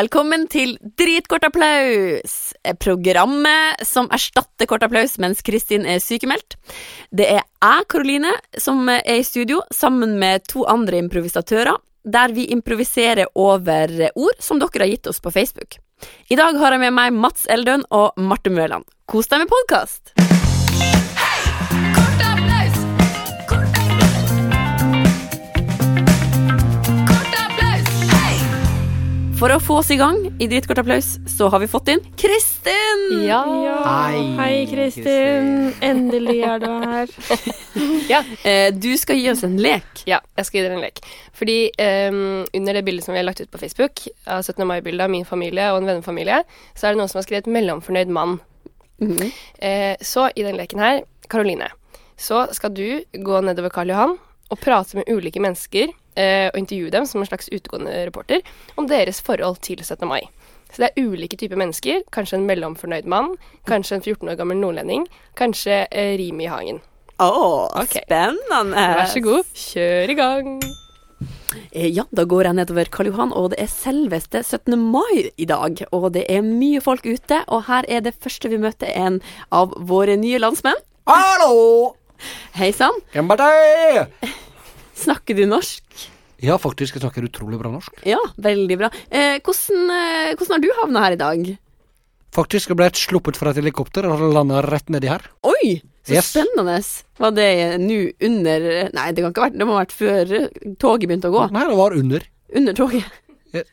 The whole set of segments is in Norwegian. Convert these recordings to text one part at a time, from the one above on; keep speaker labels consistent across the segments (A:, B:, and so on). A: Velkommen til Dritkort applaus! eh, Programmet som erstatter kort applaus mens Kristin er sykemeldt. Det er jeg, Karoline, som eh, er i studio sammen med to andre improvisatører, der vi improviserer over eh, ord som dere har gitt oss på Facebook. I dag har jeg med meg Mats Eldøen og Marte Mørland. Kos deg med podkast! For å få oss i gang i Dritkort applaus, så har vi fått inn Kristin!
B: Ja.
C: Hei,
B: Hei, Kristin. Endelig er du her.
A: Eh, Du skal gi oss en lek.
C: Ja, jeg skal gi dere en lek. Fordi ehm, under det bildet som vi har lagt ut på Facebook, av 17. mai-bildet av min familie og en vennefamilie, så er det noen som har skrevet 'mellomfornøyd mann'. Eh, så i den leken her, Karoline, så skal du gå nedover Karl Johan og prate med ulike mennesker eh, og intervjue dem som en slags utegående reporter om deres forhold til 17. mai. Så det er ulike typer mennesker. Kanskje en mellomfornøyd mann, kanskje en 14 år gammel nordlending, kanskje eh, Rimi i Hagen.
A: Å,
C: Ok.
A: spennende!
C: Vær så god, kjør i gang.
A: Eh, Ja, da går jeg nedover Karl Johan, og det er selveste 17. mai i dag. Og det er mye folk ute, og her er det første vi møter en av våre nye landsmenn.
D: Hallo!
A: Hei sann,
D: Hvem er det?
A: snakker du norsk?
D: Ja, faktisk, jeg snakker utrolig bra norsk.
A: Ja, veldig bra. Eh, hvordan, eh, hvordan har du havna her i dag?
D: Faktisk jeg ble jeg sluppet fra et helikopter og landa rett nedi her.
A: Oi, så
D: Yes.
A: spennende. Var det eh, nå under eh, Nei, det kan ikke ha vært, det må ha vært før eh, toget begynte å gå.
D: Nei, det var under.
A: Under toget.
D: Jeg-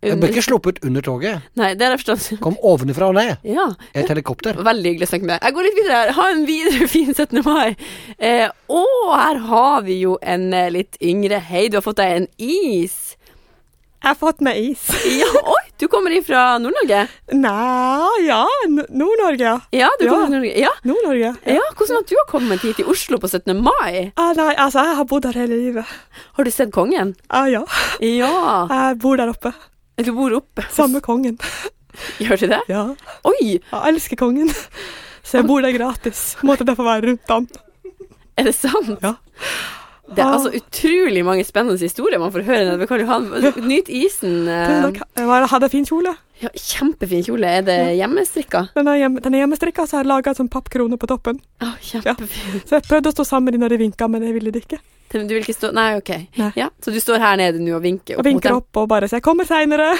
D: Jeg
A: Under,
D: ble ikke sluppet under toget.
A: nei, det har jeg forstått.
D: Kom ovenifra og ned.
A: Ja.
D: Et helikopter.
A: Veldig hyggelig å snakke med deg. Jeg går litt videre her. Ha en videre fin 17. mai. Eh, å, her har vi jo en eh, litt yngre. Hei, du har fått deg en is.
B: Jeg har fått meg is.
A: Ja, oi, du kommer ifra Nord-Norge?
B: Nei, ja. N- Nord-Norge.
A: Ja, du
B: Ja.
A: kommer fra Nord-Norge. Ja.
B: Nord-Norge.
A: ja, hvordan at du har kommet hit til Oslo på 17. mai?
B: Ah, nei, altså, jeg har bodd her hele livet.
A: Har du sett kongen?
B: Ah, ja.
A: Ja.
B: Jeg bor der oppe.
A: Du bor oppe.
B: Samme kongen.
A: Gjør du det?
B: Ja.
A: Oi,
B: Jeg elsker kongen. Så jeg bor der gratis. Måtte derfor være rundt han.
A: er det sant?
B: Ja. Ah.
A: Det er altså utrolig mange spennende historier man får høre nede ved Karl Johan. Nyt isen. eh.
B: Jeg var- hadde fin kjole.
A: Ja, kjempefin kjole. Er det hjemmestrikka?
B: Den er, hjem, den er hjemmestrikka, så jeg har laga sånn pappkrone på toppen.
A: Å, kjempefin.
B: Så jeg prøvde å stå sammen med de når de vinka, men jeg ville det ikke.
A: Men Du vil ikke stå Nei, OK.
B: Nei.
A: Ja, så du står her nede nå og vinker
B: Jeg
A: opp mot
B: vinker
A: dem?
B: opp og bare sier 'jeg kommer seinere'.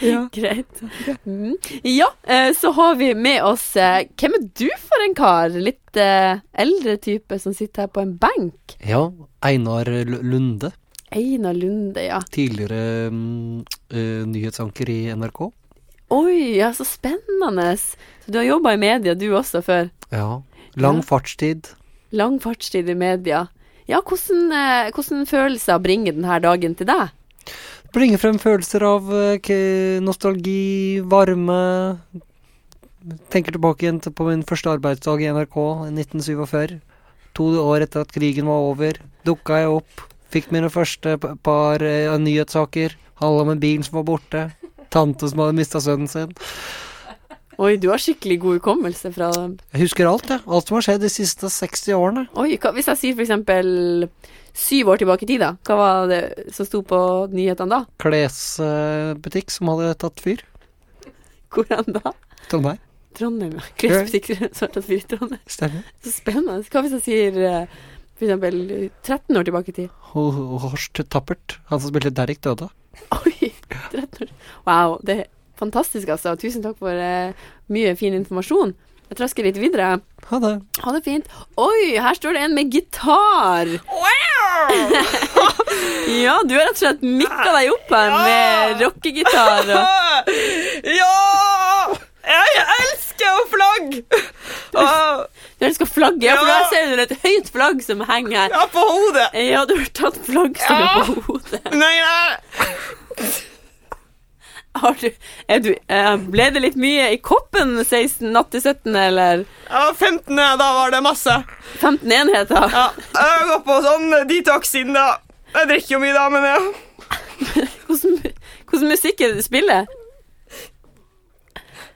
B: Ja.
A: Greit. Mm. Ja, eh, så har vi med oss eh, Hvem er du for en kar? Litt eh, eldre type som sitter her på en benk.
D: Ja, Einar L- Lunde.
A: Einar Lunde, ja.
D: Tidligere mm, eh, nyhetsanker i NRK.
A: Oi, ja, så spennende. Så du har jobba i media du også før.
D: Ja. Lang
A: Ja.
D: fartstid.
A: Lang fartstid i media. Ja, hvordan, eh, hvordan følelser bringer denne dagen til deg?
D: Bringer frem følelser av eh, k- nostalgi, varme. Tenker tilbake igjen til- på min første arbeidsdag i NRK i 1947. To år etter at krigen var over, dukka jeg opp. Fikk mine første p- par eh, nyhetssaker. Handla med bilen som var borte. Tante som hadde mista sønnen sin.
A: Oi, du har skikkelig god hukommelse fra
D: Jeg husker alt, jeg. Alt som har skjedd de siste 60 årene.
A: Oi, hva, hvis jeg sier for eksempel syv år tilbake i tid, da. Hva var det som sto på nyhetene da?
D: Klesbutikk som hadde tatt fyr.
A: Hvordan da?
D: Trondheim.
A: Trondheim, ja. Klesbutikk svart at fyr i Trondheim.
D: Stemmer.
A: Så spennende. Hva hvis jeg sier eh, for eksempel 13 år tilbake i tid?
D: Og og Horst Tappert, han som spilte Derek, døde.
A: Oi, 13 år. Wow, det er fantastisk, altså. Tusen takk for eh, mye fin informasjon. Jeg trasker litt videre.
D: Ha det.
A: Ha det fint. Oi, her står det en med gitar. ja, du har rett og slett mikka deg opp her med rockegitar. og
B: Ja! Jeg elsker jo flagg! Ah,
A: Du elsker flagget, ja, for
B: Ja.
A: der ser du et høyt flagg som henger her.
B: Ja, på hodet!
A: Ja, du har tatt flagg som er på hodet.
B: Nei, nei.
A: Har du, er du, eh, ble det litt mye i koppen 16, natt til 17, eller
B: Jeg var 15, ja, da var det masse.
A: 15 enheter?
B: Ja, jeg går på sånn detox siden da. Jeg drikker jo mye da, men jeg
A: Hvordan, mu- hvordan musikk er det du spiller?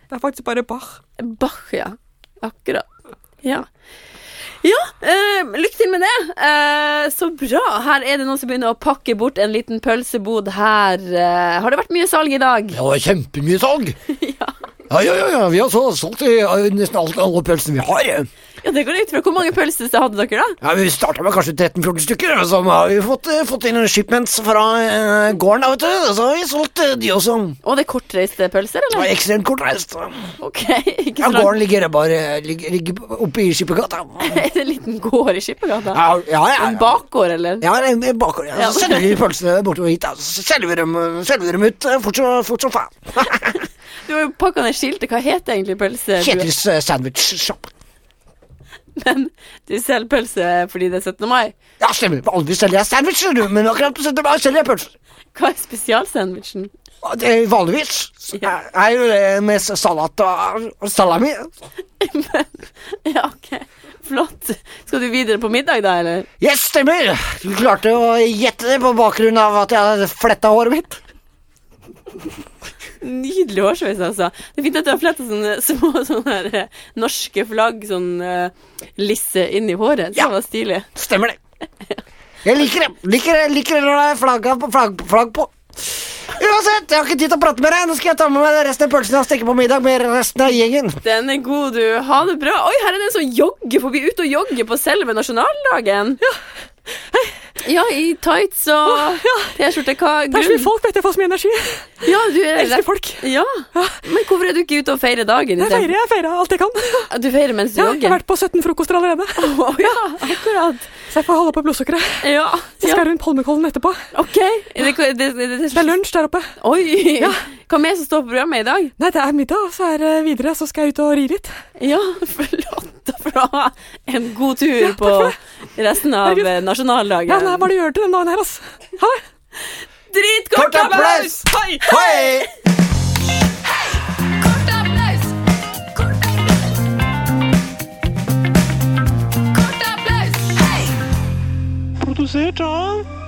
B: Det er faktisk bare Bach.
A: Bach, ja. Akkurat. Ja. Eh, lykke til med det. Eh, så bra. Her er det noen som begynner å pakke bort en liten pølsebod her. Eh, har det vært mye salg i dag?
E: Det var kjempemye salg.
A: Ja.
E: Ja, ja, ja, ja. Vi har så solgt i, eh, nesten alt, alle pølsene vi har.
A: Ja, det går jeg ut fra. Hvor mange pølser hadde dere, da?
E: Ja, vi starta med kanskje 13-14 stykker, og så har vi fått, eh, fått inn shipments fra eh, gården, da, vet du. Og så har vi solgt eh, de også.
A: Å, det er kortreiste pølser,
E: Det
A: eller?
E: var ekstremt kortreist.
A: Ok, ikke
E: Ja,
A: så langt.
E: gården ligger bare ligger, ligger oppe i Skippergata.
A: Er det en liten gård i Skippergata?
E: Ja, ja, ja.
A: En bakgård, eller?
E: Ja, det er bakover, ja. Så
A: Ja.
E: sender vi pølsene bortover hit, da. Så selger vi dem, eh, selger vi dem ut eh, fort, som- fort som faen.
A: Du har jo pakka ned skiltet. Hva heter egentlig pølse? Du,
E: Kjetils eh, sandwich shop.
A: men du selger pølse fordi det er 17. mai.
E: Ja, stemmer. Aldri selger jeg sandwicher, du, men akkurat på 17. mai selger jeg pølser.
A: Hva er spesialsandwichen?
E: Og Det er vanligvis
A: Ja.
E: er jo det med salat og og salami.
A: Ja, ok. Flott. Skal du videre på middag, da, eller?
E: Yes, stemmer! Du klarte å gjette det på bakgrunn av at jeg hadde fletta håret mitt.
A: Nydelig hårsveis, altså. Det er fint at du har fletta sånne små sånne der, eh, norske flagg, sånn eh, lisse inn i håret. Det
E: Ja.
A: var stilig.
E: Stemmer det. Jeg liker det. Liker, det- liker det når det er flagg, på- flagg, flagg på. Uansett, jeg har ikke tid til å prate med deg. Nå skal jeg ta med meg resten av pølsene og stikke på middag med resten av gjengen.
A: Den er god, du. Ha det bra. Oi, her er det en som jogger forbi. Ute og jogger på selve nasjonaldagen. Ja, i tights og T-skjorte. Hva
B: Det er så mye
A: grunn?
B: folk, vet du. Jeg får så mye energi. Jeg
A: Ja, du er
B: elsker folk.
A: Ja, men hvorfor er du ikke ute og feirer dagen? i stedet?
B: Jeg feirer, jeg feirer alt jeg kan.
A: Du feirer mens du
B: Ja, jeg har
A: jogger?
B: vært på 17 frokoster allerede.
A: Å ja, akkurat.
B: Så jeg får holde på blodsukkeret.
A: Ja, ja.
C: Så skal jeg rundt Holmenkollen etterpå.
A: ok. Det, det, det, det,
B: Det er lunsj der oppe.
A: Oi! Hva mer som står på programmet i dag?
B: Nei, det er middag, og så er det videre. Så skal jeg ut og ri litt.
A: Ja, flott og bra. En god tur på resten av eh, nasjonaldagen.
B: Ja, nei, hva er det du gjør til den dagen her, altså? Ha det.
A: Dritkort applaus!
B: Hei!
E: Hei!
F: produzir, John.